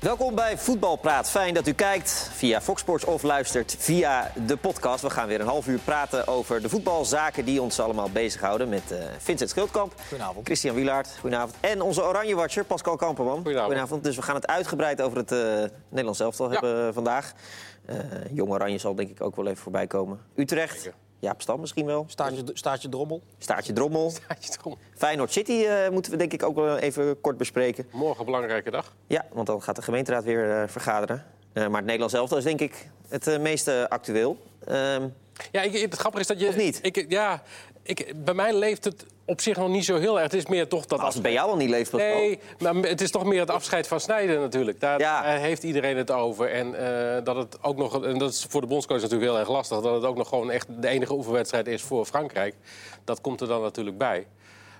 Welkom bij Voetbalpraat. Fijn dat u kijkt via Fox Sports of luistert via de podcast. We gaan weer een half uur praten over de voetbalzaken die ons allemaal bezighouden. Met eh, Vincent Schildkamp, Goedenavond. Christian Wielaert, goedenavond. En onze Oranje-watcher Pascal Kamperman. Goedenavond. Dus we gaan het uitgebreid over het eh Nederlands elftal hebben vandaag. Eh Jong Oranje zal denk ik ook wel even voorbij komen. Utrecht, Jaap Stam misschien wel. Staartje, staartje drommel. Staartje Drommel. Feyenoord City eh, moeten we denk ik ook wel even kort bespreken. Morgen een belangrijke dag. Ja, want dan gaat de gemeenteraad weer eh, vergaderen. Eh, maar het Nederlands elftal is denk ik het eh, meeste actueel. Ehm, Ja, ik, het grappige is dat je... Of niet? Ik, ja, ik, bij mij leeft het op zich nog niet zo heel erg. Het is meer toch dat... als het bij jou al niet leeft, Pascal. Nee, maar het is toch meer het afscheid van Snijder natuurlijk. Daar Ja. daar heeft iedereen het over. En eh, dat het ook nog, en dat is voor de bondscoach natuurlijk heel erg lastig, dat het ook nog gewoon echt de enige oefenwedstrijd is voor Frankrijk. Dat komt er dan natuurlijk bij.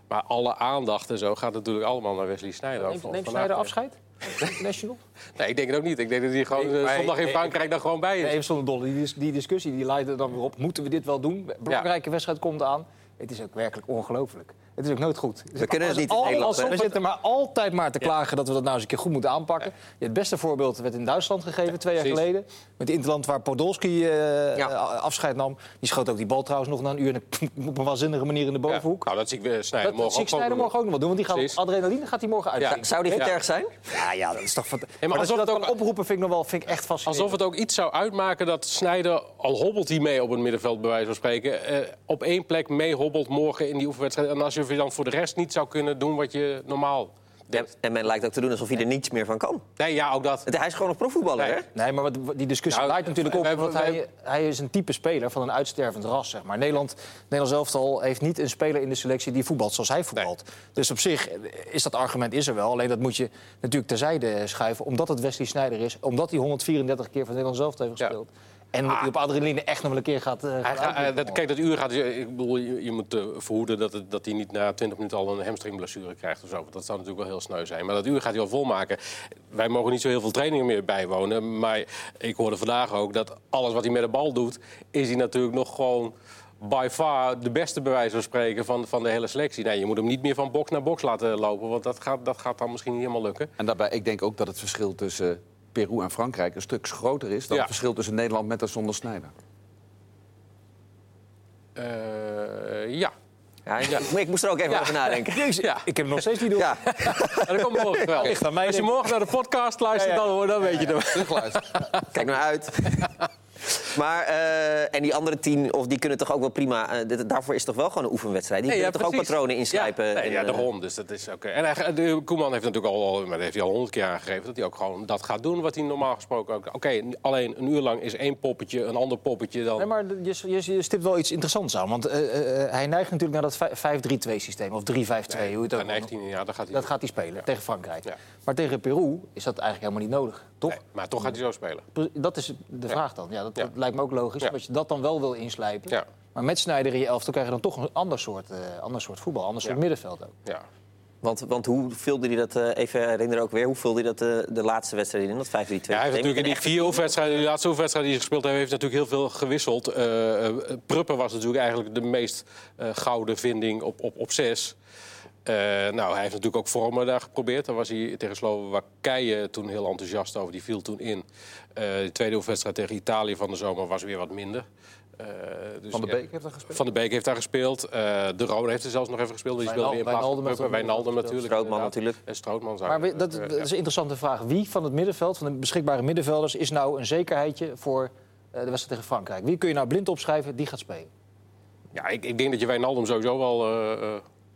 Maar alle aandacht en zo gaat natuurlijk allemaal naar Wesley Snijder. Neemt Van- neemt vandaag- Sneijder afscheid? National? Nee, ik denk het ook niet. Ik denk dat hij gewoon Nee, eh, maar- zondag in nee, Frankrijk dan gewoon bij is. Even zonder dolle. Die, dis- die discussie die leidde dan weer op. Moeten we dit wel doen? Belangrijke wedstrijd komt aan. Het is ook werkelijk ongelooflijk. Het is ook nooit goed. We kunnen het niet in Nederland, hè? We zitten maar altijd maar te klagen dat we dat nou eens een keer goed moeten aanpakken. Het beste voorbeeld werd in Duitsland gegeven twee jaar precies. geleden. Met Interland waar Podolski eh, Ja. eh, afscheid nam. Die schoot ook die bal trouwens nog na een uur in een- op een waanzinnige manier in de Ja. bovenhoek. Nou, dat zie ik weer Snijder Dat, dat morgen zie ik Sneijder morgen ook nog wel doen, want die gaat, Precies. adrenaline gaat hij morgen uit. Ja. Zou dit Ja. erg zijn? Ja, ja, dat is toch fantastisch. maar maar als je alsof dat het ook- kan oproepen, vind ik nog wel vind ik echt fascinerend. Alsof het ook iets zou uitmaken dat Snijder, al hobbelt hij mee op het middenveld, bij wijze van spreken, eh, op één plek meehobbelt morgen in die oefenwedstrijd. En als je dan voor de rest niet zou kunnen doen wat je normaal En, deed. en men lijkt ook te doen alsof hij er niets meer van kan. Nee, ja, ook dat. Het- Hij is gewoon een profvoetballer, Nee. hè? Nee, maar wat, wat- die discussie Nou, leidt natuurlijk wij- op. wij- Want hij, hij is een type speler van een uitstervend ras, zeg maar. Nederland, Nederlands elftal heeft niet een speler in de selectie die voetbalt zoals hij voetbalt. Dus op zich eh, is dat argument is er wel. Alleen dat moet je natuurlijk terzijde schuiven. Omdat het Wesley Sneijder is. Omdat hij 134 keer van Nederland elftal heeft Ja. Ah. gespeeld. En omdat hij op adrenaline echt nog wel een keer gaat... eh, Hij gaat gaat- eh, uitdelen. dat, kijk, dat uur gaat. dus- Ik bedoel, je, je moet eh, verhoeden dat, het, dat hij niet na 20 minuten al een hamstringblessure krijgt of zo. Want dat zou natuurlijk wel heel sneu zijn. Maar dat uur gaat hij al volmaken. Wij mogen niet zo heel veel trainingen meer bijwonen. Maar ik hoorde vandaag ook dat alles wat hij met de bal doet, is hij natuurlijk nog gewoon. By far de beste bij wijze van spreken van, van de hele selectie. Nee, je moet hem niet meer van box naar box laten lopen, want dat gaat, dat gaat dan misschien niet helemaal lukken. En daarbij, ik denk ook dat het verschil tussen Peru en Frankrijk een stuk groter is dan Ja. het verschil tussen Nederland met en zonder Snijder. Eh, ja. Ja, ik, ik moest er ook even over nadenken. ja. Ik heb hem nog steeds niet door. Ja, En dat komt morgen wel. Ligt aan mij, Als je denk ik. morgen naar de podcast luistert, dan, hoor, dan weet je het. kijk nou uit. Maar, eh, en die andere tien, of die kunnen toch ook wel prima... eh, dit- daarvoor is toch wel gewoon een oefenwedstrijd? Die Nee, kunnen toch ook precies. patronen inslijpen? Ja, nee, en, ja eh, daarom. Dus dat is oké. En hij- de Koeman heeft natuurlijk al, al, maar dat heeft hij al honderd keer aangegeven... dat hij ook gewoon dat gaat doen wat hij normaal gesproken ook... Oké, alleen een uur lang is één poppetje een ander poppetje dan... Nee, maar je, je, je stipt wel iets interessants aan. Want eh, eh, eh, hij neigt natuurlijk naar dat 5-3-2 systeem. Of 3-5-2, hoe je het ook Dan noemt. heeft hij, ja, dan gaat hij Dat gaat hij spelen tegen Frankrijk. Ja. Maar tegen Peru is dat eigenlijk helemaal niet nodig, toch? Nee, maar toch gaat hij zo spelen. Pre- Dat is de vraag dan. Ja, dat, Ja. dat lijkt me ook logisch. Ja. Dat je dat dan wel wil inslijpen. Ja. Maar met Sneijder in je elftal krijg je dan toch een ander soort, eh, ander soort voetbal. Ander soort middenveld ook. Ja. Want, want hoe vulde hij dat, eh, even herinneren ook weer, hoe vulde hij dat eh, de laatste wedstrijd in? Dat 5-3-2. Ja, Ja, hij heeft natuurlijk in die vier oefenwedstrijden, die laatste oefenwedstrijden die hij gespeeld heeft, heeft natuurlijk heel veel gewisseld. Eh, eh, Pruppen was natuurlijk eigenlijk de meest eh, gouden vinding op, op, op zes. Eh, nou, hij heeft natuurlijk ook Vormer daar geprobeerd. Daar was hij tegen Slowakije toen heel enthousiast over. Die viel toen in. Eh de tweede oefenwedstrijd tegen Italië van de zomer was weer wat minder. Eh, dus, Van de ja. Beek heeft dat gespeeld. Van de Beek heeft daar gespeeld. Eh, de Rode heeft er zelfs nog even gespeeld. Die speelde weer in plaats van Wijnaldum heeft Pruppen. ook nog Strootman Wijnaldum natuurlijk. gespeeld. inderdaad. natuurlijk. En Strootman zou Maar we- dat, eh, dat ja. is een interessante vraag. Wie van het middenveld, van de beschikbare middenvelders... is nou een zekerheidje voor eh, de wedstrijd tegen Frankrijk? Wie kun je nou blind opschrijven? Die gaat spelen. Ja, ik, ik denk dat je Wijnaldum sowieso wel... eh, eh,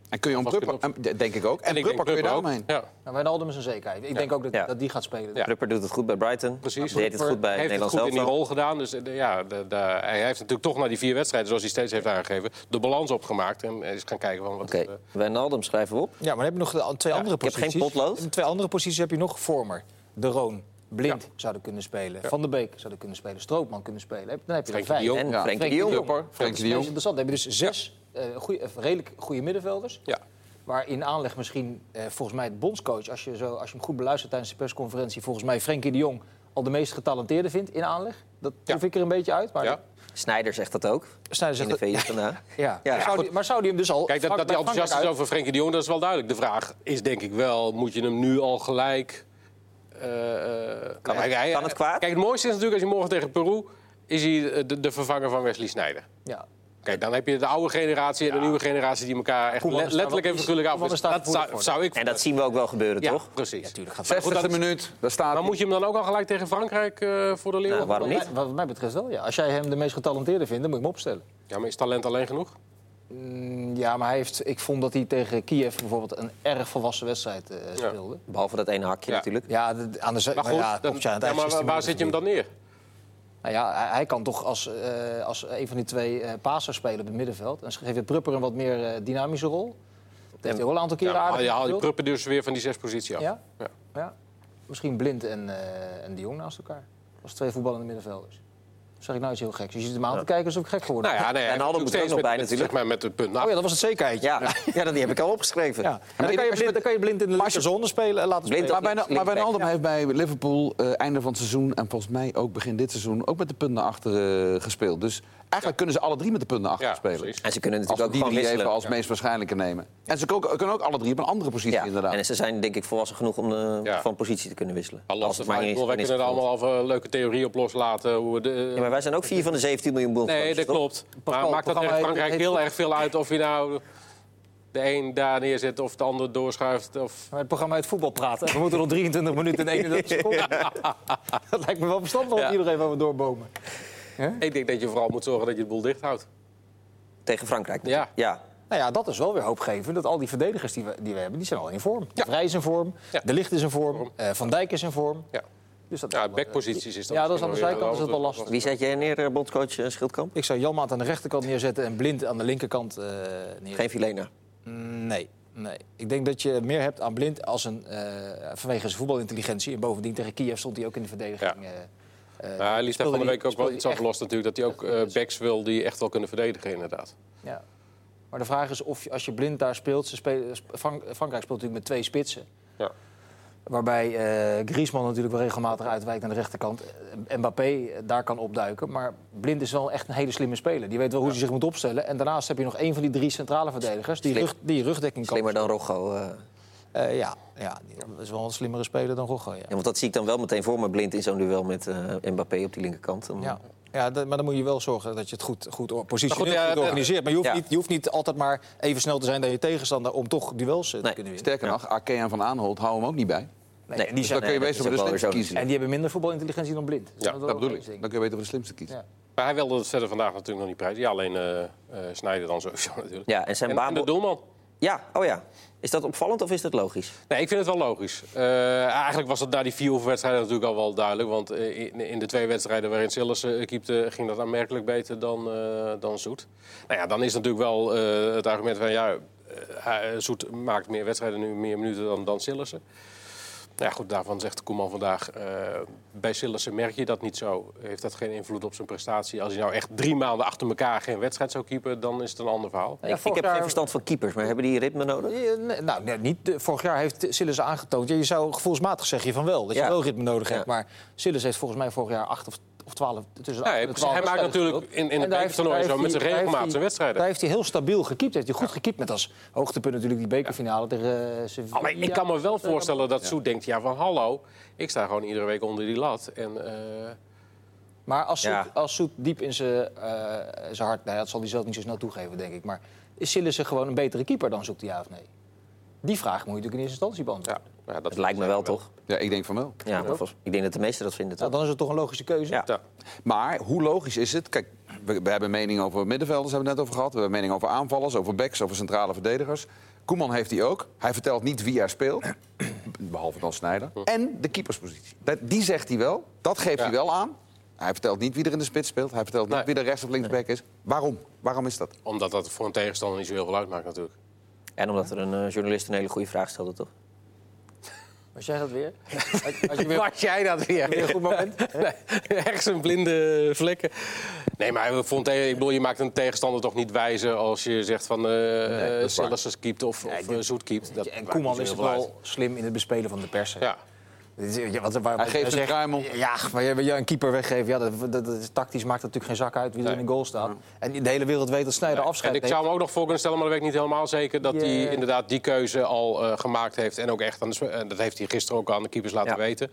En kun je om Alvast Prupper, kunnen en- denk ik ook. En, En ik Prupper kun denk je Prupper daar ook. omheen. Ja, Nou, Wijnaldum is een zekerheid. Ik denk ook dat, Ja. dat die gaat spelen. Ja. Prupper doet het goed bij Brighton. precies. Hij deed het goed bij heeft het Nederland goed in die zelf. rol gedaan. Dus eh, ja, de, de- hij heeft natuurlijk toch na die vier wedstrijden, zoals hij steeds heeft aangegeven, de balans opgemaakt. En is gaan kijken van wat. Oké, het, eh, Wijnaldum schrijven we op. Ja, maar dan heb je nog de an- twee andere ik heb posities. geen potlood. In twee andere posities heb je nog Vormer, De Roon, Blind zouden kunnen spelen. Van der Beek zouden kunnen spelen. Stroopman kunnen spelen. Heb- Dan heb je er Frenkie de vijf. Jong. En Ja. Frenkie Frenkie de Jong. de Jong. Frenkie de Dat is Jong. interessant. Dan heb je dus zes eh, goeie- eh, redelijk goede middenvelders. ja. Waar in aanleg misschien, eh, volgens mij, het bondscoach... Als je, zo, als je hem goed beluistert tijdens de persconferentie... volgens mij Frenkie de Jong al de meest getalenteerde vindt in aanleg. Dat Ja. proef ik er een beetje uit. Maar ja. Snijder zegt dat ook. Sneijder In zegt de dat- VS vandaag. ja. Ja. Maar zou die- maar zou die hem dus al... Kijk, dat, vlak dat bij hij enthousiast Frankrijk is over Frenkie de Jong, dat is wel duidelijk. De vraag is denk ik wel, moet je hem nu al gelijk eh, eh, Kan het- kijk, hij- kan het kwaad? Kijk, het mooiste is natuurlijk als je morgen tegen Peru... is hij eh, de, de vervanger van Wesley Sneijder. Ja. Kijk, dan heb je de oude generatie en de nieuwe generatie... die elkaar echt Koeman le- staat letterlijk wel- en figuurlijk af. Koeman Dat staat voor- zou, zou ik... En dat zien we ook wel gebeuren, ja, toch? precies. Natuurlijk gaat het. 60e minuut, daar staat Maar hij. moet je hem dan ook al gelijk tegen Frankrijk eh, voor de Leeuwen? Nou, waarom niet? Wat mij betreft wel, ja. Als jij hem de meest getalenteerde vindt, dan moet je hem opstellen. Ja, maar is talent alleen genoeg? Mm, Ja, maar hij heeft, ik vond dat hij tegen Kiev bijvoorbeeld een erg volwassen wedstrijd eh, speelde. Behalve dat ene hakje Ja. natuurlijk. Ja, d- aan de zij- Maar nou goed, ja, dan- klopt, ja, aan het ja, eigen maar waar, 16e waar zet je hem dan neer? Nou ja, hij, hij kan toch als, eh, als een van die twee eh pasers spelen op het middenveld. En geeft je Prupper een wat meer eh, dynamische rol. Dat heeft hij wel een aantal Ja, keren maar haal aardig je haal je gespeeld. Pruppen dus weer van die zes positie af. Ja? Ja. Ja. Misschien Blind en, eh, en de Jong naast elkaar. Als twee voetballende middenvelders. Dat zeg ik nou iets heel geks. Je ziet hem aan te kijken alsof ik gek geworden Nou ja, nee, En Alden moet er ook nog bij natuurlijk. Zeg maar met het punt. ben. Nou, Oh ja, dat was het zekerheidje. Ja, ja dat die heb ik al opgeschreven. Ja. En dan, kan je als je- blind, dan kan je blind in de linkerzone spelen en laten Blind spelen. Maar, links- bijna, maar linksback. Wijnaldum heeft bij Liverpool eh, einde van het seizoen... en volgens mij ook begin dit seizoen ook met de punt naar achteren eh, gespeeld. Dus eigenlijk kunnen ze alle drie met de punt naar achteren ja, spelen. precies. En ze kunnen Als natuurlijk we ook die gewoon drie even wisselen. als meest waarschijnlijke nemen. En ze ko- kunnen ook alle drie op een andere positie Ja. inderdaad. En ze zijn denk ik volwassen genoeg om eh, Ja. van positie te kunnen wisselen. Al lastig, maar niet ik is- bedoel, wij dan is kunnen er het allemaal al een leuke theorie op loslaten. Hoe we de, Ja, maar wij zijn ook vier van de 17 miljoen bondscoaches, nee, dat toch? klopt. Maar Pascal, maakt dat programma tegen heet- Frankrijk heet- heel erg veel uit of je nou de een daar neerzet of de ander doorschuift? Of... Maar het programma uit voetbal praten. We moeten nog 23 minuten en 31 seconden. Dat lijkt me wel verstandig Ja. dat iedereen wel we doorbomen. Ik denk dat je vooral moet zorgen dat je de boel dicht houdt. Tegen Frankrijk natuurlijk. ja. Nou ja, dat is wel weer hoopgevend. Dat al die verdedigers die we, die we hebben, die zijn al in vorm. Vrij is in vorm, Ja. De Licht is in vorm, eh, Van Dijk is in vorm. Ja, Dus dat ja backposities is dat. Ja, dat is aan de misschien zijkant is dat wel weer- lastig. Wie zet jij neer, eh, bondscoach eh, Schildkamp? Ik zou Janmaat aan de rechterkant neerzetten en Blind aan de linkerkant eh neerzetten. Geen Vilena. Nee, nee. Ik denk dat je meer hebt aan Blind als een, eh, vanwege zijn voetbalintelligentie. En bovendien tegen Kiev stond hij ook in de verdediging. Ja. eh, eh, Ja, hij liet daar speelde van de die- week ook wel speelde iets die echt- afgelost natuurlijk. Dat hij ook eh, backs wil die echt wel kunnen verdedigen inderdaad. Ja. Maar de vraag is of je, als je blind daar speelt... Ze spelen, Sp- Frank- Frankrijk speelt natuurlijk met twee spitsen. Ja. Waarbij eh, Griezmann natuurlijk wel regelmatig uitwijkt aan de rechterkant. Eh, Mbappé eh, daar kan opduiken. Maar Blind is wel echt een hele slimme speler. Die weet wel hoe hij zich moet opstellen. En daarnaast heb je nog één van die drie centrale verdedigers... die, Slim. rug, die rugdekking kan. Slimmer dan Rogo. eh. Eh, ja, ja, die- dat is wel een slimmere speler dan Roggel. Ja. Ja, want dat zie ik dan wel meteen voor me blind in zo'n duel met eh, Mbappé op die linkerkant. Dan- Ja. Ja, dat- maar dan moet je wel zorgen dat je het goed, goed or- positioneel Maar goed, ja, goed dat- organiseert. Maar je hoeft, Ja. niet, je hoeft niet altijd maar even snel te zijn dan je tegenstander... om toch duels eh, Nee. te kunnen winnen. Sterker nog, Ake en Van Aanholt houden hem ook niet bij. Nee, Nee, en die Dus dan kun nee, dat je wezen voor is de ook wel weer slimste zo. kiezen. En die hebben minder voetbalintelligentie dan blind. Ja, Dat bedoel ik. is Dan denk kun je beter voor de slimste kiezen. Ja. Maar hij wilde het verder vandaag natuurlijk nog niet prijzen. Ja, alleen eh eh, Sneijder dan sowieso natuurlijk. Ja, en zijn en, en Babel- de doelman. Ja, oh ja. Is dat opvallend of is dat logisch? Nee, ik vind het wel logisch. Eh, eigenlijk was dat na die vier wedstrijden natuurlijk al wel duidelijk. Want eh, in, in de twee wedstrijden waarin Sillers eh, keepte, ging dat aanmerkelijk beter dan, eh, dan Zoet. Nou ja, dan is natuurlijk wel eh, het argument van ja, eh, hij- Zoet maakt meer wedstrijden nu, meer minuten dan, dan Sillissen. Nou ja, goed, daarvan zegt Koeman vandaag. eh, bij Sillissen merk je dat niet zo. Heeft dat geen invloed op zijn prestatie? Als hij nou echt drie maanden achter elkaar geen wedstrijd zou keepen, dan is het een ander verhaal. Ja, ik, ik vorig heb jaar- geen verstand van keepers, maar hebben die ritme nodig? Eh, nee, Nou, nee, niet. Eh, Vorig jaar heeft Sillis aangetoond. Ja, je zou gevoelsmatig zeg je van wel. Dat Ja. je wel ritme nodig hebt. Ja. Maar Sillis heeft volgens mij vorig jaar acht of, of twaalf. Tussen de Nee, acht en de precies. twaalf hij maakt wedstrijden natuurlijk gespeeld. in, in En het daar heeft- bekertoernooi daar zo met heeft zijn hij- daar regelmaat heeft zijn hij- Daar wedstrijden. heeft hij heel stabiel gekiept. Heeft hij goed gekiept. Met als hoogtepunt natuurlijk die bekerfinale tegen eh, Sevilla. Alleen Oh, ik kan me wel voorstellen dat Soet denkt: ja, van hallo, ik sta gewoon iedere week onder die lat. En, eh, Maar als Soet, Ja. als Soet diep in zijn eh, zijn hart... Nou, ja, dat zal hij zelf niet zo snel toegeven, denk ik. Maar is Sillissen gewoon een betere keeper dan Zoet, ja of nee? Die vraag moet je natuurlijk in eerste instantie beantwoorden. ja, nou, dat Dat lijkt me wel, toch? Ja, ik denk van wel. Ja, maar volgens- ik denk dat de meesten dat vinden, Nou, toch? dan is het toch een logische keuze. Ja. Ja. Maar hoe logisch is het? Kijk, we, we hebben mening over middenvelders, hebben we net over gehad. We hebben mening over aanvallers, over backs, over centrale verdedigers. Koeman heeft die ook. Hij vertelt niet wie hij speelt, behalve dan Snijder. En de keeperspositie. Dat, die zegt hij wel, dat geeft hij wel aan. Hij vertelt niet wie er in de spits speelt. Hij vertelt niet Nee. wie er rechts of linksback is. Waarom? Waarom is dat? Omdat dat voor een tegenstander niet zo heel veel uitmaakt, natuurlijk. En omdat er een eh, journalist een hele goede vraag stelde, toch? Was jij dat weer? Had, had je weer Was jij dat weer? een goed moment? Ergens een blinde vlekken. Nee, maar voor een tegen- ik bedoel, je maakt een tegenstander toch niet wijzer als je zegt van eh eh dat is waar. Sillers keept of, of eh, Zoet keept. Dat En maakt niet zo Koeman heel is veel uit. wel slim in het bespelen van de pers. hè. Ja. Ja, wat, waar, Hij geeft hij een zegt- kruimel. Ja, maar je, je een keeper weggeven, ja, dat, dat, dat is tactisch maakt dat natuurlijk geen zak uit wie er Nee. in de goal staat. En de hele wereld weet dat Snijder afscheid En ik neemt. zou me ook nog voor kunnen stellen, maar dat weet ik niet helemaal zeker... dat Ja. hij inderdaad die keuze al eh, gemaakt heeft. En ook echt, aan de, sp- en dat heeft hij gisteren ook aan de keepers laten Ja. weten.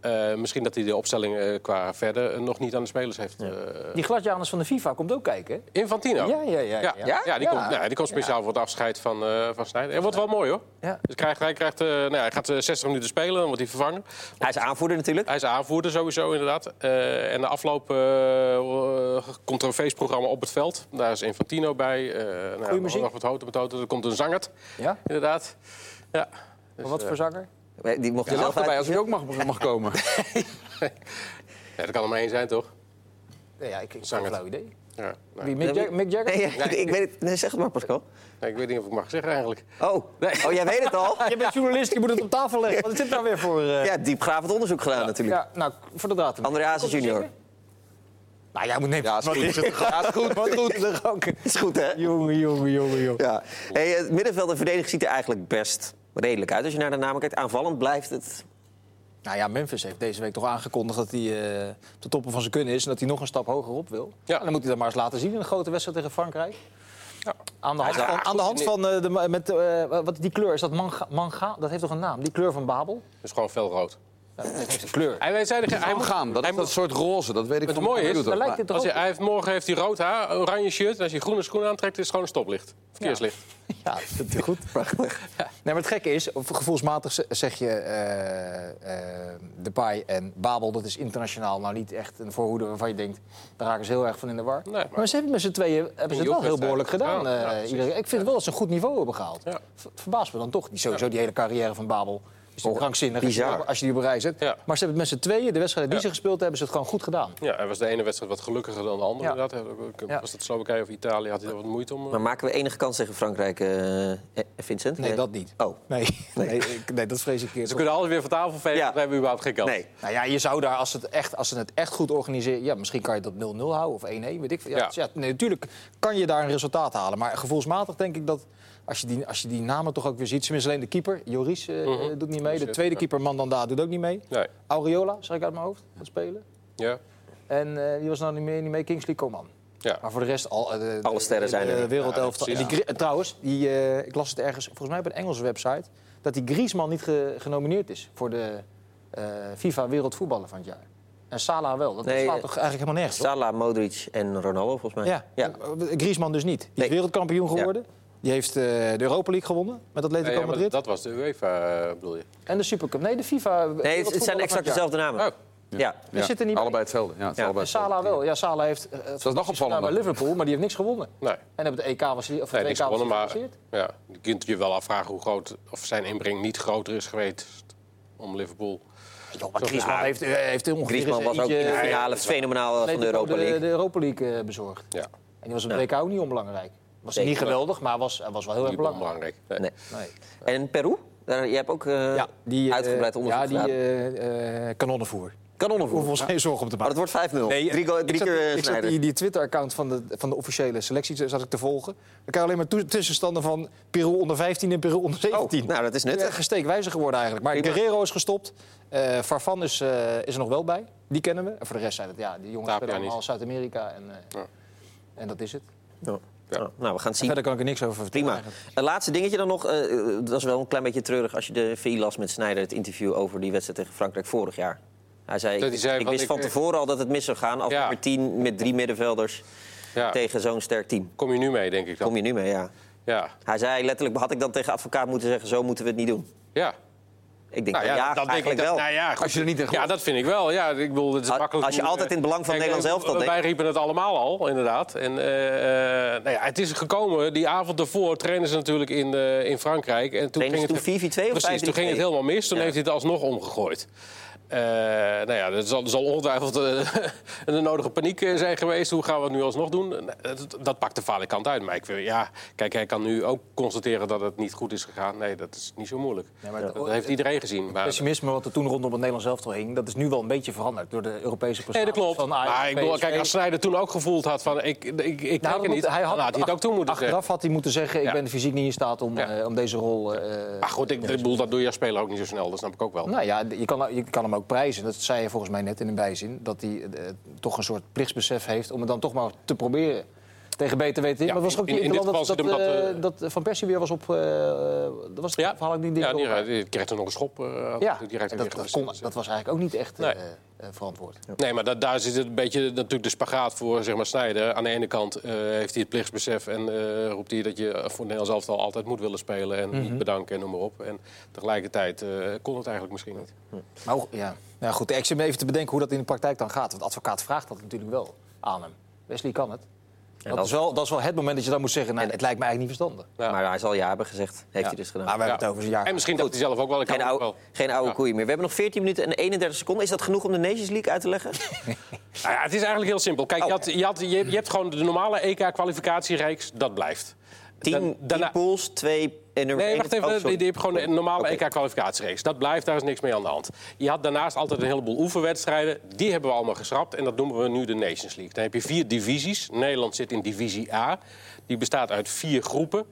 Eh, misschien dat hij de opstelling eh, qua verder eh, nog niet aan de spelers heeft... eh, Die gladjanus van de FIFA komt ook kijken. hè? Infantino? Oh. Ja, ja, ja, ja. ja. Ja? die, Ja. Komt, nou, die komt speciaal voor het afscheid van, eh van Snijder. Het wordt wel mooi, hoor. Ja. Dus krijgt, hij, krijgt, eh, nou, ja, hij gaat eh, 60 minuten spelen, dan wordt hij vervangen. Hij is aanvoerder natuurlijk. Hij is aanvoerder sowieso, inderdaad. Eh, en de afloop eh, eh, komt er een feestprogramma op het veld. Daar is Infantino bij. eh nou, ja, muziek. nog wat houten met houten. Er komt een zangert, Ja? inderdaad. Ja. Maar wat voor zanger? Eh, Die mocht je Je zelf lacht erbij uit- als hij ook mag, mag komen. Ja, dat kan er maar één zijn, toch? Nee, ja, ik, ik heb Zanger. een flauw idee. Ja, nou, Wie, Mick, Nee, Jag- Mick Jagger? Nee, ja, ik- ik weet het. Nee, zeg het maar, Pascal. nee, ik weet niet of ik mag zeggen, eigenlijk. Oh, oh jij weet het al. Je bent journalist, je moet het op tafel leggen. Wat is dit nou weer voor... eh, Ja, diepgravend onderzoek gedaan natuurlijk. Ja, nou, voor de datum. André Hazes Komt hij junior. zingen? Nou, jij moet nemen. Ja, is goed. Ja, is goed. Wat goed. Is goed, hè? Jongen, jongen, jongen, jongen. Ja. Hey, het middenveld en verdediging ziet er eigenlijk best redelijk uit. Als je naar de namen kijkt, aanvallend blijft het. Nou ja, Memphis heeft deze week toch aangekondigd dat hij eh, op de toppen van zijn kunnen is... en dat hij nog een stap hoger op wil. Ja. En dan moet hij dat maar eens laten zien in een grote wedstrijd tegen Frankrijk. Ja. Aan de hand Ja, van, goed, aan de hand nee. van eh, de, ma- met, eh, wat, die kleur, is dat manga, manga? Dat heeft toch een naam? Die kleur van Babel? Dat is gewoon felrood. Ja, dat heeft een kleur. Hij, wij zeiden- hij, Hij moet moet- gaan. Dat hij is dat moet- soort roze. Dat weet ik Het van de mooie is, computer. Dus Daar lijkt Maar- het toch als ook hij, hij heeft, morgen heeft hij rood haar, oranje shirt. En als hij groene schoenen aantrekt, is het gewoon een stoplicht. Verkeerslicht. Ja, dat is goed. Nee, maar het gekke is, gevoelsmatig z- zeg je eh eh Depay en Babel... dat is internationaal nou niet echt een voorhoede waarvan je denkt... daar raken ze heel erg van in de war. maar- maar, ze hebben met z'n tweeën hebben ze het wel heel jeugdwedstrijd. behoorlijk gedaan. Ja, eh, ja, precies. iedereen. Ik vind wel dat ze een goed niveau hebben gehaald. Ja. V- Verbaast me dan toch. Die, sowieso die hele carrière van Babel is toch Oh, krankzinnig als je- bizar. als je die op een rij zet. Ja. Maar ze hebben het met z'n tweeën, de wedstrijden die Ja. ze gespeeld hebben... hebben ze het gewoon goed gedaan. Ja, hij was de ene wedstrijd wat gelukkiger dan de andere. Ja. inderdaad. Hij had ook- ook- Ja. Was dat Slowakije of Italië, had hij er wat moeite om. eh, Maar maken we enige kans tegen Frankrijk, eh, eh, Vincent? Nee, dat niet. Oh, Nee, nee. ik- nee, dat vrees ik keer. Ze kunnen alles weer van tafel vegen, Ja. dan hebben we überhaupt geen kans. nee. Nou ja, je zou daar, als, het echt, als ze het echt goed organiseren... Ja, misschien kan je dat 0-0 houden of 1-1, weet ik veel. Ja, Ja. dus ja, nee, natuurlijk kan je daar een resultaat halen. Maar gevoelsmatig denk ik dat, als je die, als je die namen toch ook weer ziet... Tenminste, alleen de keeper, Joris, eh, eh, doet niet mee. De Zit, tweede Mhm. ja. keeper, Mandanda, doet ook niet mee. Nee. Aureola, zeg ik uit mijn hoofd, dat spelen. Ja. En eh, die was nou niet meer niet mee, Kingsley Coman. Ja. Maar voor de rest, al, eh, de- Alle sterren de- zijn de, er. wereldelftal. Ja, En die, Gri- trouwens, die, eh, ik las het ergens, volgens mij op een Engelse website... dat die Griezmann niet ge- genomineerd is voor de eh, FIFA Wereldvoetballer van het jaar. En Salah wel. Dat Nee, slaat eh, toch eigenlijk helemaal nergens op? Salah, Modric en Ronaldo, volgens mij. Ja, Eh, Griezmann dus niet. Die is Nee. wereldkampioen geworden. Die heeft eh, de Europa League gewonnen met Atletico Nee, ja, maar Madrid. dat was de UEFA, eh, bedoel je? En de Supercup. Nee, de FIFA Nee, het- het zijn Wereldvoetballer van exact het jaar. dezelfde namen. Oh. Ja. We zitten niet bij. allebei hetzelfde. Ja, het is Ja, allebei En Salah wel. Ja, Salah heeft... eh, Dat is nou, nog bij opvallender. Liverpool, maar die heeft niks gewonnen. Nee. En op de EK was hij... Of Nee, de niks EK was gewonnen, hij maar geblesseerd. ja, je kunt je wel afvragen hoe groot of zijn inbreng niet groter is geweest om Liverpool. Joh, maar Griezmann Ja. heeft, eh, heeft ongeveer Griezmann eens was ook in de eentje- finale fenomenaal van de Atletico Europa League. de Europa League eh, bezorgd. Ja, En die was op WK ook niet onbelangrijk. Was Nee, niet geweldig, maar was, hij was wel heel erg niet belangrijk. belangrijk. Nee. Nee. Nee. En Peru? Daar, jij hebt ook eh, eh, uitgebreid onderzoek Ja, die gedaan. eh, eh, kanonnenvoer. Kanonnenvoer. Hoeven ons geen zorgen om te Oh, maken. dat wordt 5-0. Nee, drie go- ik drie zat- keer eh, Ik zat snijden. die, die Twitter-account van de, van de officiële selectie zat ik te volgen. Dan krijg je alleen maar toe- tussenstanden van Peru onder 15 en Peru onder 17. Oh, nou, dat is Ja, nuttig. gesteekwijzer geworden eigenlijk. Maar Prima. Guerrero is gestopt. Eh Farfan is, eh, is er nog wel bij. Die kennen we. En voor de rest zijn het, ja, die jongens Tapia spelen allemaal niet. Zuid-Amerika. En, eh, en dat is het. Ja. Nou, nou, we gaan het zien. Verder kan ik er niks over vertellen. Prima. eigenlijk. Een laatste dingetje dan nog. eh, eh, dat was wel een klein beetje treurig als je de VI las met Snijder... het interview over die wedstrijd tegen Frankrijk vorig jaar. Hij zei, Dat ik, hij zei, ik want wist ik- eh, van tevoren al dat het mis zou gaan. Als Ja. nummer 10 met drie middenvelders Ja. tegen zo'n sterk team. Kom je nu mee, denk ik dan? Kom je nu mee, ja. Ja. Hij zei letterlijk, had ik dan tegen advocaat moeten zeggen... zo moeten we het niet doen. ja. Ik denk, Nou ja, dat denk eigenlijk ik dat- wel. nou ja, goed. Als je er niet in gelooft. Ja, dat vind ik wel. Ja, ik bedoel, het is Als- makkelijk als je om, altijd eh, in het belang van kijk, Nederland zelf dat eh, Wij denkt. riepen het allemaal al, inderdaad. En eh, eh, nou ja, het is gekomen. Die avond ervoor trainen ze natuurlijk in, eh, in Frankrijk. En toen Trainen ze ging het toen 4-4-2 of Precies, toen ging 5-3-2? het helemaal mis. Toen heeft hij het alsnog omgegooid. Eh, nou ja, er zal, er zal ongetwijfeld eh, een nodige paniek eh, zijn geweest. Hoe gaan we het nu alsnog doen? Eh, Dat, dat pakt de falikant uit. Maar ik wil, ja, kijk, hij kan nu ook constateren dat het niet goed is gegaan. Nee, dat is niet zo moeilijk. Nee, maar dat, het- heeft iedereen gezien. Maar, pessimisme wat er toen rondom het Nederlands elftal hing... dat is nu wel een beetje veranderd door de Europese nee, prestaties dat klopt. van Ajax, Maar ik bedoel, kijk, PSV. als Snijder toen ook gevoeld had van... ik, ik, ik kijk Nou, er dat niet, moet- hij had, dan had hij het ook toe moeten achteraf zeggen. had hij moeten zeggen... ik Ja. ben fysiek niet in staat om, Ja. eh, om deze rol... eh, Maar goed, ik, ik bedoel, dat doe je als speler ook niet zo snel. Dat snap ik ook wel. Nou ja, je kan, je kan hem ook prijzen. Dat zei je volgens mij net in een bijzin. Dat hij eh, toch een soort plichtsbesef heeft om het dan toch maar te proberen. Tegen beter weten. in. Ja, maar het was ook in- in die dit interland geval dat, zit dat, hem eh, dat, eh, dat Van Persie weer was op... eh, dat was het Ja. verhaal ik niet Ja, direct die, door elkaar. die kreeg er nog een schop. eh, had Ja, natuurlijk direct en weer dat, dat, gewisseld. kon- dat was eigenlijk ook niet echt eh, Nee. eh, verantwoord. Nee, maar da- daar zit het een beetje natuurlijk de spagaat voor zeg maar, Snijder. Aan de ene kant eh, heeft hij het plichtsbesef en eh, roept hij dat je voor het Nederlands elftal altijd moet willen spelen en niet bedanken en noem maar op. En tegelijkertijd eh, kon het eigenlijk misschien niet. Maar hoe- ja. Nou goed, ik zit me even te bedenken hoe dat in de praktijk dan gaat. Want advocaat vraagt dat natuurlijk wel aan hem. Wesley kan het. Dat, dat- is wel, dat is wel het moment dat je dan moet zeggen... Nou, het lijkt me eigenlijk niet verstandig. Ja. Maar hij zal ja hebben gezegd, heeft hij dus gedaan. Maar we Ja. hebben het over zijn jaar. nou- En misschien dacht hij zelf ook wel. Ik Geen kan ook oude, wel. geen oude Ja. koeien meer. We hebben nog 14 minuten en 31 seconden. Is dat genoeg om de Nations League uit te leggen? Nou ja, het is eigenlijk heel simpel. Kijk, je, had, je, had, je, je hebt gewoon de normale EK-kwalificatiereeks, dat blijft. 10 Dan- daarna- pools, 2 en nummer Nee, 1. wacht even. die, die heb gewoon een normale EK-kwalificatiereeks. Dat blijft, daar is niks mee aan de hand. Je had daarnaast altijd een heleboel oefenwedstrijden. Die hebben we allemaal geschrapt en dat noemen we nu de Nations League. Dan heb je vier divisies. Nederland zit in divisie A. Die bestaat uit vier groepen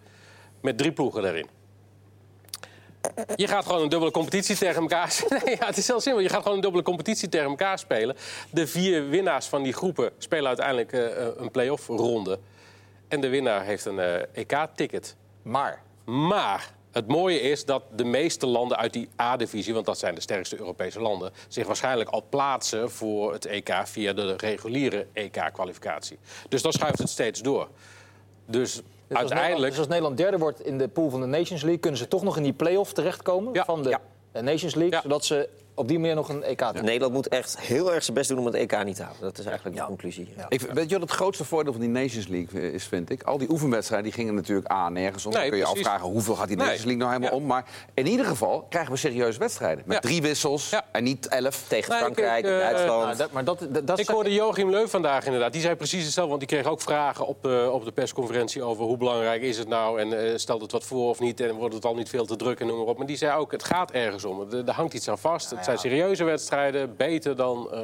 met drie ploegen daarin. Je gaat gewoon een dubbele competitie tegen elkaar. Nee, ja, het is heel simpel. Je gaat gewoon een dubbele competitie tegen elkaar spelen. De vier winnaars van die groepen spelen uiteindelijk eh, eh, een play-off ronde. En de winnaar heeft een eh, EK-ticket. Maar Maar het mooie is dat de meeste landen uit die A-divisie, want dat zijn de sterkste Europese landen, zich waarschijnlijk al plaatsen voor het EK via de reguliere EK-kwalificatie. Dus dan schuift het steeds door. Dus Dus als Nederland- uiteindelijk. Dus als Nederland derde wordt in de pool van de Nations League, kunnen ze toch nog in die play-off terechtkomen Ja, van de ja. eh, Nations League, Ja. zodat ze op die manier nog een EK doen. Nederland moet echt heel erg zijn best doen om het EK niet te halen. Dat is eigenlijk de conclusie. Ik, vind- weet je wat het grootste voordeel van die Nations League eh, is, vind ik? Al die oefenwedstrijden die gingen natuurlijk A, nergens om. Nee, Dan kun je precies. afvragen hoeveel gaat die Nee. Nations League nou helemaal Ja. om. Maar in ieder geval krijgen we serieuze wedstrijden. Met Ja. drie wissels Ja. en niet elf. Tegen Nee, Frankrijk, kijk, eh, Duitsland. Nou, dat, maar dat, dat, dat Ik hoorde Joachim Leu vandaag inderdaad. Die zei precies hetzelfde, want die kreeg ook vragen op de, op de persconferentie over hoe belangrijk is het nou en eh, stelt het wat voor of niet en wordt het al niet veel te druk en noem maar op. Maar die zei ook, het gaat ergens om. Er, er hangt iets aan vast. het zijn serieuze wedstrijden, beter dan... eh,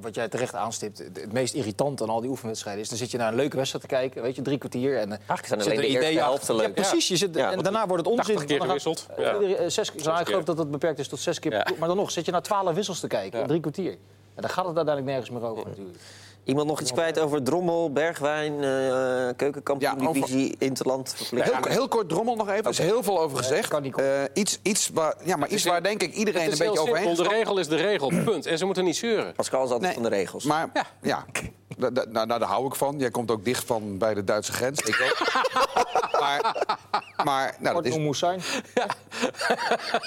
wat jij terecht aanstipt, het het meest irritant aan al die oefenwedstrijden is... dan zit je naar een leuke wedstrijd te kijken, weet je, drie kwartier... en eh, Eigenlijk zijn zit alleen er de eerste ideeën helft achter. leuk. Ja, precies. Je zit, Ja, en want daarna wordt het onzin. 80 keer Dan gaat- gewisseld. eh, Ja. iedere- eh, zes, nou, ik geloof keer. dat dat beperkt is tot zes keer. per Ja. ploeg, Maar dan nog zit je naar twaalf wissels te kijken, in drie kwartier. En dan gaat het uiteindelijk nergens meer over natuurlijk. Iemand nog iets kwijt over Drommel, Bergwijn, eh keukenkampioen, Ja, over- divisie, Interland? Verplicht. Heel, heel kort drommel nog even. Er is heel veel over gezegd. kan niet Eh, iets, iets waar, ja, maar iets heel- waar denk ik iedereen een Het is beetje heel overheen simpel. De gestapt regel is de regel, punt. En ze moeten niet zeuren. Pascal is altijd Nee, van de regels. Maar ja, Da- da- nou, nou, daar hou ik van. Jij komt ook dicht van bij de Duitse grens. Ik ook. maar maar nou, dat, Kort is, moest zijn.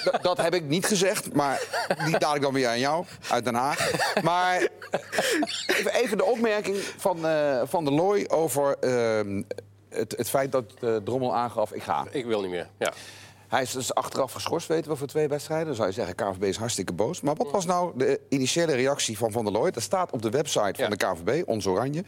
da- dat heb ik niet gezegd. Maar die daad ik dan weer aan jou, uit Den Haag. Maar even, even de opmerking van, eh, van de Looy over ehm, het, het feit dat eh, Drommel aangaf, ik ga. Ik wil niet meer. Ja. Hij is dus achteraf geschorst, weten we, voor twee wedstrijden. Dan zou je zeggen, KNVB is hartstikke boos. Maar wat was nou de initiële reactie van Van der Looy? Dat staat op de website van Ja. Mhm. de KNVB, ons Oranje.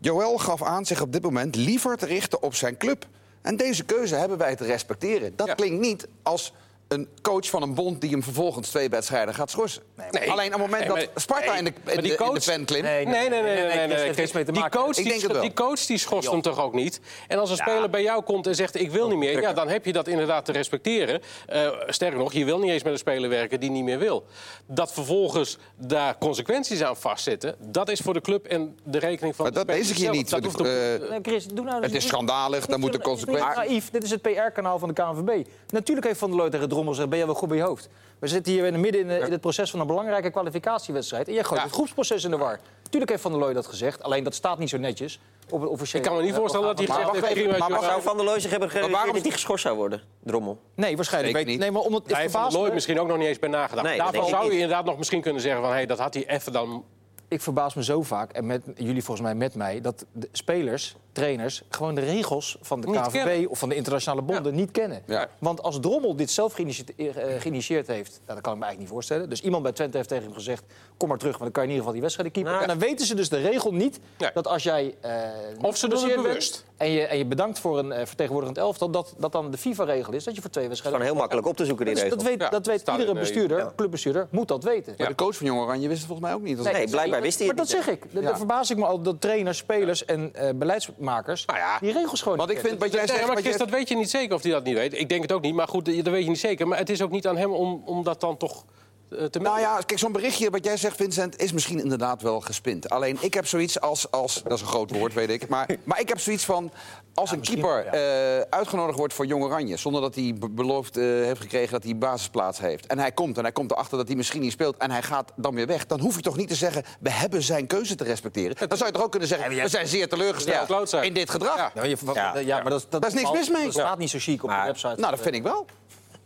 Joël gaf aan zich op dit moment liever te richten op zijn club. En deze keuze hebben wij te respecteren. Dat Ja. klinkt niet als een coach van een bond... die hem vervolgens twee wedstrijden gaat schorsen. maar- Alleen op het moment Nee, dat maar- Sparta nee, in de, maar in die de, in de coach- pen klimt... Nee, Nee, nee, nee. nee, nee, dat heeft Kijk, niks mee te die, maken. coach, Ik die, denk het wel. die coach die schost hem toch ook niet? En als een speler bij jou komt en zegt ik wil niet meer... Ja, dan heb je dat inderdaad te respecteren. Eh, sterker nog, je wil niet eens met een speler werken die niet meer wil. Dat vervolgens daar consequenties aan vastzitten... dat is voor de club en de rekening van Maar de dat speler lees ik hier zelf. niet. Dat hoeft op- Eh, Nee, Chris, doe nou dus Het is niet- schandalig, daar niet moeten zo- het is niet consequenties- naïef, dit is het PR-kanaal van de KNVB. Natuurlijk heeft Van der Looy tegen Drommel gezegd... ben je wel goed bij je hoofd. We zitten hier in het midden in, eh, in het proces van een belangrijke kwalificatiewedstrijd... en jij gooit het groepsproces in de war. Natuurlijk heeft Van der Looy dat gezegd, alleen dat staat niet zo netjes... op een officiële... Ik kan me niet eh, voorstellen dat hij orgaan. gezegd wacht heeft... even, prima, maar Johan. wacht Zou Van der Looy zich hebben gerealiseerd waarom- dat hij geschorst zou worden, Drommel? Nee, waarschijnlijk Zeker weet niet. Nee, maar omdat het Hij heeft van verbaast Looy me- misschien ook nog niet eens bij nagedacht. Nee, dat Daarvan denk ik zou je niet. inderdaad nog misschien kunnen zeggen van... hé, dat had hij even dan ik verbaas me zo vaak, en met jullie volgens mij met mij... dat de spelers, trainers, gewoon de regels van de Niet KVB kennen. of van de internationale bonden niet kennen. Ja. Want als Drommel dit zelf geïnitie- eh, eh, geïnitieerd heeft... Nou, dat kan ik me eigenlijk niet voorstellen. Dus iemand bij Twente heeft tegen hem gezegd... kom maar terug, want dan kan je in ieder geval die wedstrijden keeper. Nou, en dan weten ze dus de regel niet Nee. dat als jij... eh, Of ze doen het geblesseerd bent bewust. En je, en je bedankt voor een eh, vertegenwoordigend elftal... dat dat dan de FIFA-regel is, dat je voor twee wedstrijden... Dus Gewoon heel makkelijk op te zoeken, die Dat, is- regel. dat weet, Ja, dat weet staat in iedere de- bestuurder, clubbestuurder, moet dat weten. Maar de coach van Jong Oranje wist het volgens mij ook niet. Nee, Dat blijkbaar wist hij Maar het dat niet. zeg ik. Da- Ja. Daar verbaas ik me al dat trainers, spelers en eh, beleidsmakers Nou ja. die regels gewoon Want niet ik vind wat jij Nee, zegt... maar wat Chris, jij- dat weet je niet zeker of hij dat niet weet. Ik denk het ook niet, maar goed, dat weet je niet zeker. Maar het is ook niet aan hem om, om dat dan toch eh, te melden. Nou ja, kijk, zo'n berichtje wat jij zegt, Vincent, is misschien inderdaad wel gespind. Alleen ik heb zoiets als. als dat is een groot woord, weet ik. Maar, maar ik heb zoiets van. Als een keeper eh, uitgenodigd wordt voor Jong Oranje. zonder dat hij be- beloofd eh, heeft gekregen dat hij basisplaats heeft. en hij komt en hij komt erachter dat hij misschien niet speelt. en hij gaat dan weer weg. dan hoef je toch niet te zeggen. we hebben zijn keuze te respecteren. Dan zou je toch ook kunnen zeggen. we zijn zeer Ja, teleurgesteld klootzak. in dit gedrag. Ja, je- wat- Ja. ja, maar dat, Daar is niks mis mee. Dat staat niet zo chic op de website. Nou, dat vind ik wel.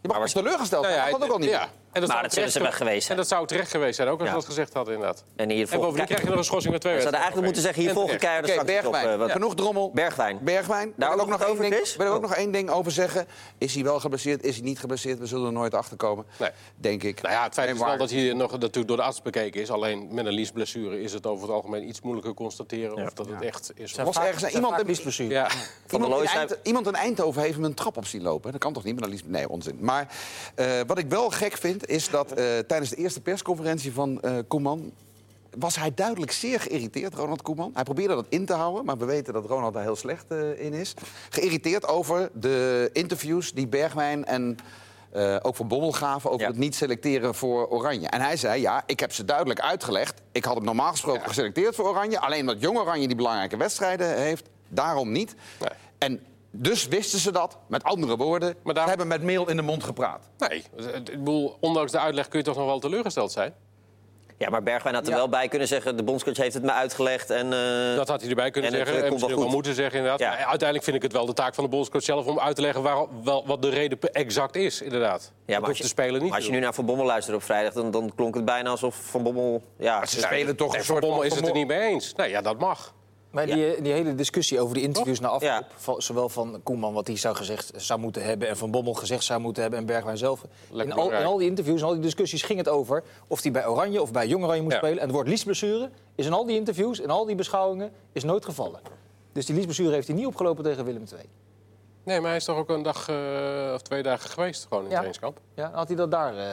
Je mag was teleurgesteld Nou zijn. ja, dat kan ook al niet. ja. En Maar zou dat zullen ze terecht- wel geweest zijn. En dat zou terecht geweest zijn, ook als je dat gezegd had inderdaad. En hier En bovendien krijg je nog een schorsing met twee We zouden eigenlijk wedstrijden. moeten zeggen, hier volgen En terecht. keiharde Oké, sancties op. Bergwijn. eh, want- Genoeg drommel. Bergwijn. Bergwijn. Daar Wil ik ook nog wat één over, ding- Chris? Wil ik Oh. ook nog één ding over zeggen? Is hij wel geblesseerd? Is hij niet geblesseerd? We zullen er nooit achter komen. Nee. Denk ik. Nou ja, het feit En is waar- wel dat hier nog natuurlijk door de arts bekeken is. Alleen met een liesblessure is het over het algemeen iets moeilijker constateren of dat het echt is. was ergens Zijn iemand vaak in- misblessure. Ja. der Iemand in, Looij Eind- iemand in Eindhoven heeft hem een trap op zien lopen. hè? Dat kan toch niet met een lies- Nee, onzin. Maar eh, wat ik wel gek vind, is dat eh, tijdens de eerste persconferentie van eh, Koeman... was hij duidelijk zeer geïrriteerd, Ronald Koeman. Hij probeerde dat in te houden, maar we weten dat Ronald daar heel slecht eh, in is. Geïrriteerd over de interviews die Bergwijn en... eh, ook van Bommel gaven over Ja. het niet selecteren voor Oranje. En hij zei, ja, ik heb ze duidelijk uitgelegd. Ik had hem normaal gesproken geselecteerd voor Oranje. Alleen omdat Jong Oranje die belangrijke wedstrijden heeft, daarom niet. Nee. En dus wisten ze dat, met andere woorden. Maar daar- Ze hebben met meel in de mond gepraat. Nee, ik bedoel, ondanks de uitleg kun je toch nog wel teleurgesteld zijn. Ja, maar Bergwijn had er Ja. wel bij kunnen zeggen... de bondscoach heeft het me uitgelegd en... eh, Dat had hij erbij kunnen En het, eh, zeggen. en komt wel misschien ook wel goed. moeten zeggen, inderdaad. Ja. Maar Uiteindelijk vind ik het wel de taak van de bondscoach zelf... om uit te leggen waar, wel, wat de reden pe- exact is, inderdaad. Ja, dat hoeft de speler niet maar als je te nu doen. naar Van Bommel luistert op vrijdag, dan, dan klonk het bijna alsof Van Bommel... Ja, Ze spelen toch Nee, een Van soort Bommel van is het er niet mee eens. Nee, ja, dat mag. Maar die, eh, die hele discussie over die interviews na afloop... Ja. van- zowel van Koeman, wat hij zou gezegd zou moeten hebben... en Van Bommel gezegd zou moeten hebben en Bergwijn zelf. In al, belangrijk. in al die interviews en al die discussies ging het over... of hij bij Oranje of bij Jong Oranje moest Ja. spelen. En het woord liesblessure is in al die interviews en al die beschouwingen is nooit gevallen. Dus die liesblessure heeft hij niet opgelopen tegen Willem II. Nee, maar hij is toch ook een dag eh, of twee dagen geweest gewoon in het Ja. trainingskamp. Ja, had hij dat daar... eh,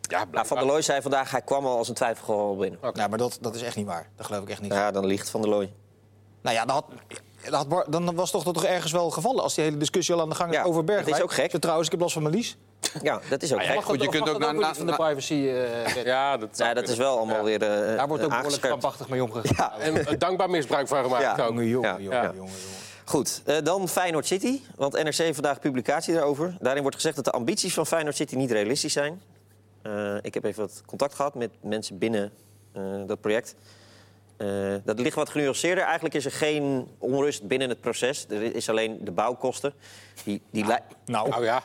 Ja, Nou, van der Looy zei vandaag, hij kwam al als een twijfelgeval binnen. Nou, maar dat, dat is echt niet waar. Dat geloof ik echt niet. Ja, dan liegt Van der Looy. Nou ja, dan, had, dan, had Bar- dan was toch dat toch ergens wel gevallen... als die hele discussie al aan de gang is Ja, over Bergwijn. dat is ook gek. Zo, trouwens, ik heb last van mijn lies. Ja, dat Ah, is ook gek. Goed, je kunt ook naar- van de na- privacy... eh, wet. Ja, dat, zou Nou, dat is kunnen. wel allemaal Ja. weer eh Daar wordt ook behoorlijk aangescherpt. krampachtig mee omgegaan. Ja. En eh, dankbaar misbruik van Ja. gemaakt ook. Oh, Jongen, Ja. jongen, jongen, Ja. jongen, jongen. Goed, eh, dan Feyenoord City. Want NRC vandaag publicatie daarover. Daarin wordt gezegd dat de ambities van Feyenoord City niet realistisch zijn. Eh, ik heb even wat contact gehad met mensen binnen eh, dat project. Eh, dat ligt wat genuanceerder. Eigenlijk is er geen onrust binnen het proces. Er is alleen de bouwkosten. Die, die lij- Nou, Nou ja,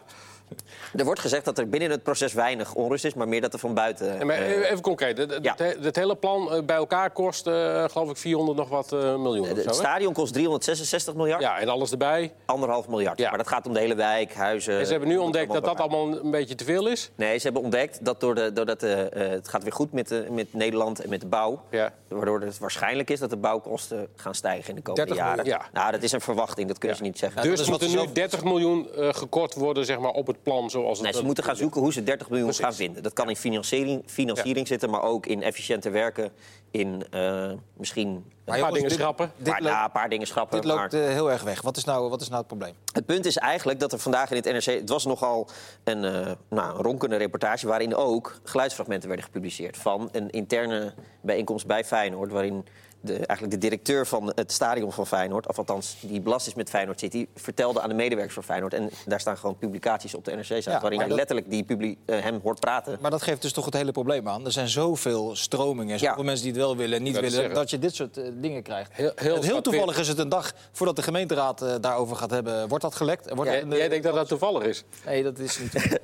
er wordt gezegd dat er binnen het proces weinig onrust is, maar meer dat er van buiten. En maar eh, even concreet. Het ja. hele plan eh, bij elkaar kost, eh, geloof ik, 400 nog wat eh, miljoen. of zo, het hè? stadion kost 366 miljard, Ja, en alles erbij. anderhalf miljard. Ja. Maar dat gaat om de hele wijk, huizen. En ze hebben nu om het ontdekt dat dat bij allemaal een beetje te veel is. Nee, ze hebben ontdekt dat door de, doordat de, eh, het gaat weer goed met, de, met Nederland en met de bouw. Ja. Waardoor het waarschijnlijk is dat de bouwkosten gaan stijgen in de komende 30 jaren. miljoen, ja. Nou, dat is een verwachting, dat kunnen ze niet zeggen. dat dus is moet wat er ze nu zelf- 30 miljoen eh, gekort worden zeg maar, op het plan zoals Nee, het... eh, ze moeten gaan zoeken hoe ze 30 miljoen gaan vinden. Dat kan in financiering, financiering zitten, maar ook in efficiënter werken. In eh, misschien Een paar jongens, dingen dit- schrappen. een paar, loopt- ja, een paar dingen schrappen. Dit loopt maar- eh, heel erg weg. Wat is nou, wat is nou het probleem? Het punt is eigenlijk dat er vandaag in het NRC... Het was nogal een, eh, nou, een ronkende reportage... waarin ook geluidsfragmenten werden gepubliceerd... van een interne bijeenkomst bij Feyenoord... waarin de, eigenlijk de directeur van het stadion van Feyenoord... of althans die belast is met Feyenoord City... vertelde aan de medewerkers van Feyenoord... en daar staan gewoon publicaties op de NRC-site... Ja, waarin maar hij dat- letterlijk die publi- eh, hem hoort praten. Maar dat geeft dus toch het hele probleem aan. Er zijn zoveel stromingen, zoveel Ja. mensen die het wel willen en niet Dat is willen... zeggen. dat je dit soort eh, dingen krijgt. Heel- heel En heel zwart-wit. toevallig is het een dag voordat de gemeenteraad eh, daarover gaat hebben... wordt dat gelekt? Wordt dat Jij, in de- jij denkt dat dat toevallig is. Nee, dat is niet.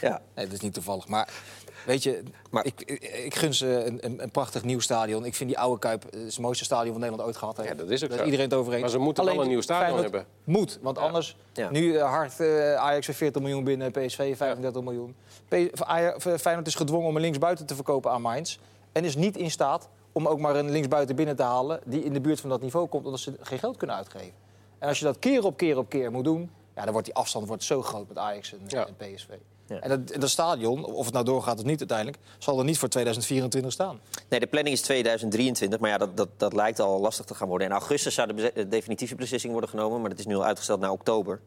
Ja. Nee, dat is niet toevallig. Maar weet je, Maar- ik, ik, ik gun ze een, een, een prachtig nieuw stadion. Ik vind die oude Kuip eh, is het mooiste stadion van Nederland ooit gehad heeft. Ja, dat is ook Daar zo. iedereen het over eens. Maar ze moeten wel een nieuw stadion Feyenoord hebben. Moet, want anders... Ja. Nu eh, hard eh, Ajax weer 40 miljoen binnen, PSV 35 miljoen. P- of Aja- of, eh, Feyenoord is gedwongen om een linksbuiten te verkopen aan Mainz. En is niet in staat om ook maar een linksbuiten binnen te halen... die in de buurt van dat niveau komt, omdat ze geen geld kunnen uitgeven. En als je dat keer op keer op keer moet doen... Ja, dan wordt die afstand wordt zo groot met Ajax en, Ja. en PSV. Ja. En dat, dat stadion, of het nou doorgaat of niet uiteindelijk... zal er niet voor 2024 staan. Nee, de planning is 2023, maar ja, dat, dat, dat lijkt al lastig te gaan worden. In augustus zou de, beze- de definitieve beslissing worden genomen, maar dat is nu al uitgesteld naar oktober.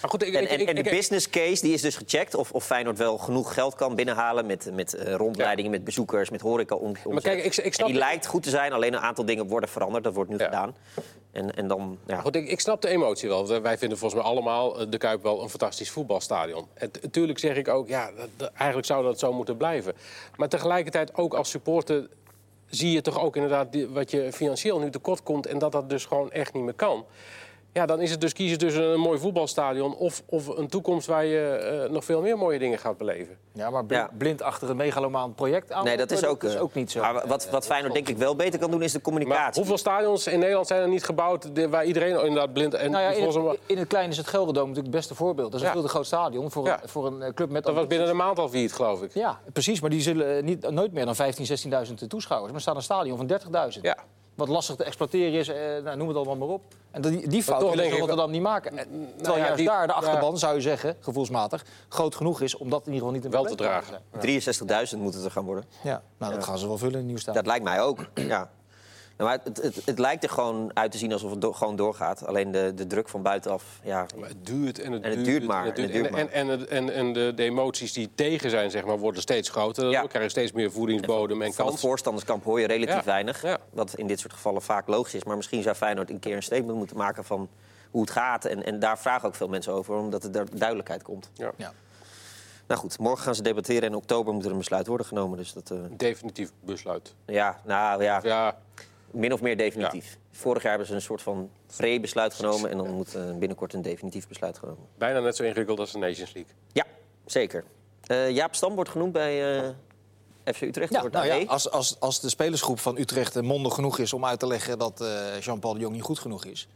Maar goed, ik, En, ik- en, ik- en de ik- business case die is dus gecheckt of, of Feyenoord wel genoeg geld kan binnenhalen met, met eh, rondleidingen, met bezoekers, met horeca. Om, Maar kijk, ik- ik snap- en die lijkt goed te zijn, alleen een aantal dingen worden veranderd. Dat wordt nu Ja. gedaan. En, en dan, ja. Goed, ik, ik snap de emotie wel. Want Wij vinden volgens mij allemaal eh, de Kuip wel een fantastisch voetbalstadion. En t- tuurlijk zeg ik ook, ja, dat- dat- eigenlijk zou dat zo moeten blijven. Maar tegelijkertijd ook als supporter zie je toch ook inderdaad die- wat je financieel nu tekort komt... en dat dat dus gewoon echt niet meer kan. Ja, dan is het dus kiezen tussen een mooi voetbalstadion... of, of een toekomst waar je eh, nog veel meer mooie dingen gaat beleven. Ja, maar Ja. blind achter een megalomaan project aan. Nee, dat is ook, eh, niet zo. Maar wat, wat Feyenoord denk ik wel beter kan doen, is de Maar communicatie. hoeveel stadions in Nederland zijn er niet gebouwd... de- waar iedereen inderdaad blind... En Nou ja, in, volgens mij- het, in het klein is het Gelderdoom natuurlijk het beste voorbeeld. Dat is een Ja. veel te groot stadion voor, Ja. een, voor een eh, club met... dat was binnen een maand al failliet, geloof ik. Ja, precies. Maar die zullen eh, niet, nooit meer dan 15.000, 16.000 eh, toeschouwers. Maar er staat een stadion van 30.000. Ja. Wat lastig te exploiteren is, eh, nou, noem het allemaal maar op. En die, die fout toch willen ze denk ik Rotterdam niet maken. En, terwijl nou ja, juist die- daar de ja. achterban, zou je zeggen, gevoelsmatig... groot genoeg is om dat in ieder geval niet een Wel te probleem dragen. maken. 63.000 moeten er gaan worden. Ja, nou, dat gaan ze wel vullen in nieuw stadion. Dat lijkt mij ook, ja. Ja, Maar het, het, het lijkt er gewoon uit te zien alsof het do- gewoon doorgaat. Alleen de, de druk van buitenaf, ja. Maar het duurt en het, En het duurt, duurt maar, En, het duurt. en het duurt En- en, en, het- en, en de, de emoties die tegen zijn, zeg maar, worden steeds groter. Ja. We krijgen steeds meer voedingsbodem en Van het kans. voorstanderskamp hoor je relatief Ja, weinig. ja. Wat in dit soort gevallen vaak logisch is. Maar misschien zou Feyenoord een keer een statement moeten maken van hoe het gaat. En, en daar vragen ook veel mensen over, omdat er daar duidelijkheid komt. Ja. Ja. Nou goed, morgen gaan ze debatteren. en In oktober moet er een besluit worden genomen. Dus dat, eh, Definitief besluit. ja, nou ja, Ja, min of meer definitief. Vorig jaar hebben ze een soort van pre-besluit genomen. En dan moet eh, binnenkort een definitief besluit genomen. bijna net zo ingewikkeld als de Nations League. Ja, zeker. Eh, Jaap Stam wordt genoemd bij eh, FC Utrecht. Ja, wordt E. nou ja, AE. als, als, als de spelersgroep van Utrecht eh, mondig genoeg is om uit te leggen dat eh, Jean-Paul de Jong niet goed genoeg is.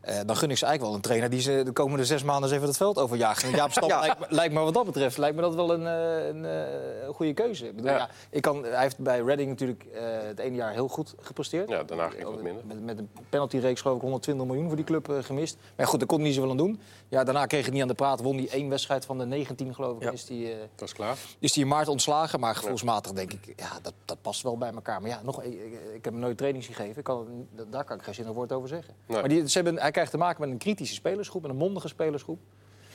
eh, dan gun ik ze eigenlijk wel een trainer die ze de komende zes maanden eens even het veld overjaagt. En Jaap Stam Ja. lijkt, me- lijkt me wat dat betreft lijkt me dat wel een, eh, een, eh, een goede keuze. Ik bedoel, Ja. ja. ik kan, hij heeft bij Reading natuurlijk eh, het ene jaar heel goed gepresteerd. Ja, daarna ging het wat minder. Met, met een penaltyreeks geloof ik 120 miljoen voor die club eh, gemist. Maar ja, goed, daar kon hij niet zoveel aan doen. Ja, daarna kreeg hij niet aan de praat. Won die één wedstrijd van de 19 geloof ik. Ja. en Is die, eh, Het was klaar. is die in maart ontslagen, maar gevoelsmatig denk ik, ja, dat, dat past wel bij elkaar. Maar ja, nog, ik, ik- ik heb hem nooit trainings gegeven, ik kan, da- daar kan ik geen zinnig woord over zeggen. Nee. Maar die, ze hebben, hij krijgt te maken met een kritische spelersgroep, met een mondige spelersgroep.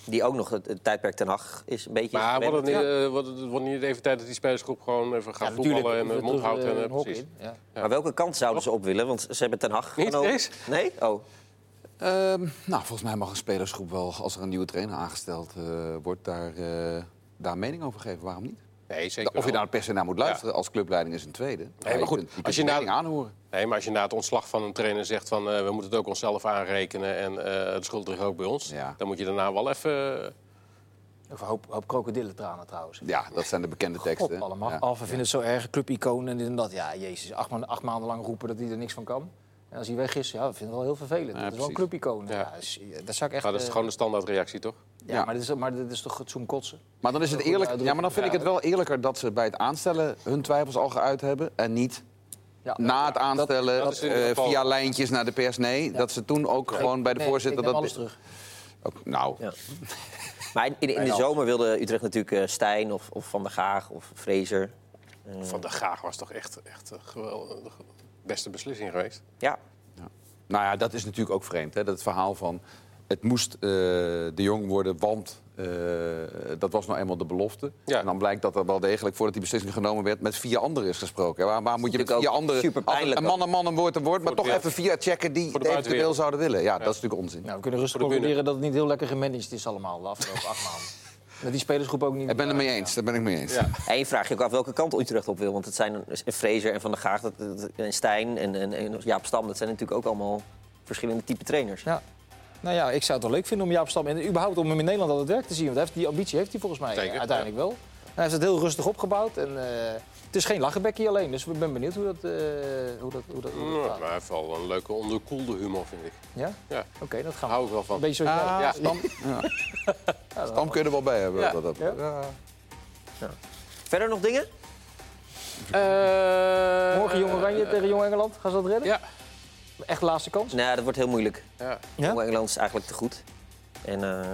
Die ook nog het, het tijdperk ten Hag is een beetje... Maar wordt het, niet, gewend. eh, wordt, het, wordt niet even tijd dat die spelersgroep gewoon even gaat Ja, voetballen en weer de mond terug, houdt? eh, En, eh, een hok precies. in, ja. Maar welke kant zouden ze op willen? Want ze hebben ten Hag Niet genomen. eens? Nee? Oh. Ehm, nou, volgens mij mag een spelersgroep wel, als er een nieuwe trainer aangesteld eh, wordt, daar, eh, daar mening over geven. Waarom niet? Nee, zeker Nou, Of je wel. daar per se naar moet luisteren als clubleiding is een tweede. maar goed, kunt, je als als je je nou- mening aanhoren. Nee, maar als je na het ontslag van een trainer zegt van eh, we moeten het ook onszelf aanrekenen en eh, de schuld ligt ook bij ons, Ja. dan moet je daarna wel even. eh, Of een hoop, hoop krokodillentranen trouwens. Ja, dat zijn de bekende teksten. God, allemaal. Ja. Alfa vindt het zo erg, clubicoon en dit en dat. Ja, jezus, acht, ma- acht maanden lang roepen dat hij er niks van kan. En als hij weg is, ja, dat vind ik wel heel vervelend. dat is wel een precies. clubicoon. Ja. Ja. dat is- dat zou ik echt... Maar dat is eh, gewoon de standaardreactie, toch? ja, Ja. Maar, dit is, maar dit is toch het zoen kotsen? Maar dan is het Een goede eerlijk. Ja, maar dan vind ik uitdrukking. het wel eerlijker dat ze bij het aanstellen hun twijfels al geuit hebben en niet Ja, na het aanstellen dat is in ieder eh, geval- via lijntjes naar de pers. Nee, E, dat ze toen ook gewoon bij de Nee, voorzitter ik neem dat. alles terug. Ook- nou, Ja. Maar in, in, in de zomer wilde Utrecht natuurlijk eh, Stijn of, of Van der Gaag of Fraser. Mm. Van der Gaag was toch echt, echt een geweldige beste beslissing geweest. Ja. Nou ja, dat is natuurlijk ook vreemd. Hè? Dat verhaal van het moest eh, de jong worden, want eh, dat was nou eenmaal de belofte. Ja. En dan blijkt dat er wel degelijk, voordat die beslissing genomen werd, met vier anderen is gesproken. Waar, waar moet je met natuurlijk vier ook anderen... superpijnlijk Een man, een man, een woord, een woord, maar de toch even wereld. vier checken die Voor de het eventueel buitenwereld. zouden willen. Ja, dat is natuurlijk onzin. Nou, we kunnen rustig Voor de concluderen dat het niet heel lekker gemanaged is allemaal de afgelopen acht maanden. Dat die spelersgroep ook niet... Ik ben het mee eens, daar ben ik mee eens. Ja. En je vraagt je ook af welke kant Utrecht op wil. Want het zijn een- Fraser en Van der Gaag dat, dat- en Stijn en, en, en Jaap Stam. Dat zijn natuurlijk ook allemaal verschillende type trainers. Ja. Nou ja, ik zou het wel leuk vinden om Jaap Stam... en überhaupt om hem in Nederland aan het werk te zien. Want hij heeft, die ambitie heeft hij volgens mij eh, Zeker, uiteindelijk wel. En hij heeft het heel rustig opgebouwd. En, eh, het is geen lachenbekkie alleen, dus ik ben benieuwd hoe dat, eh, hoe dat, hoe dat, hoe dat Ja, gaat. maar hij heeft wel een leuke onderkoelde humor, vind ik. Ja? Ja. Oké, dat gaan Daar hou Ah. we. ik wel Een van. beetje zoals jij. Ja. Stam, ja. Stam kun je er wel bij hebben. wat Dat, Ja? Verder nog dingen? Eh, Morgen Jong Oranje tegen Jong Engeland. Gaan ze dat redden? Ja. Echt laatste kans? Nou, dat wordt heel moeilijk. ja. Ja? Jong Engeland is eigenlijk te goed. En, eh,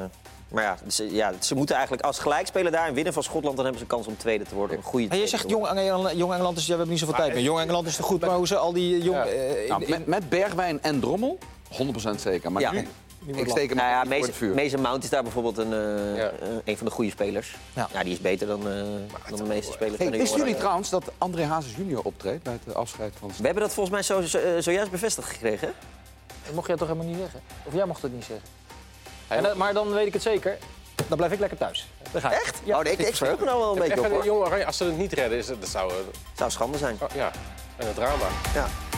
maar ja ze, ja, ze moeten eigenlijk als gelijk spelen daar en winnen van Schotland... dan hebben ze kans om tweede te worden. Een goede Maar je tweede zegt te worden. Jong Engeland, Jong Engeland is... Ja, we hebben niet zoveel tijd meer. eh, Jong Engeland is te goed, maar hoe ze al die eh, jong... Ja. eh, in- Nou, in- met, met Bergwijn en Drommel, 100% zeker. Maar Ja. nu, wordt ik steek hem Nou ja, voor het Mason, vuur. Mason Mount is daar bijvoorbeeld een, eh, Ja. eh, een van de goede spelers. Ja. Ja, die is beter dan, eh, dan de meeste spelers. Hey, van de wisten jongeren. jullie trouwens dat André Hazes junior optreedt bij het afscheid van... We hebben dat volgens mij zo, zo- eh, zojuist bevestigd gekregen. hè? Dat mocht jij toch helemaal niet zeggen? Of jij mocht het niet zeggen? En dat- maar dan weet ik het zeker. Dan blijf ik lekker thuis. Dan ga ik. Echt? Ja. oh, nee, ik, ik verheug me nou wel een beetje Echt, op, eh, hoor. Jong Oranje, als ze het niet redden, is, dat dat zou eh, zou schande zijn. ja, een drama. Ja.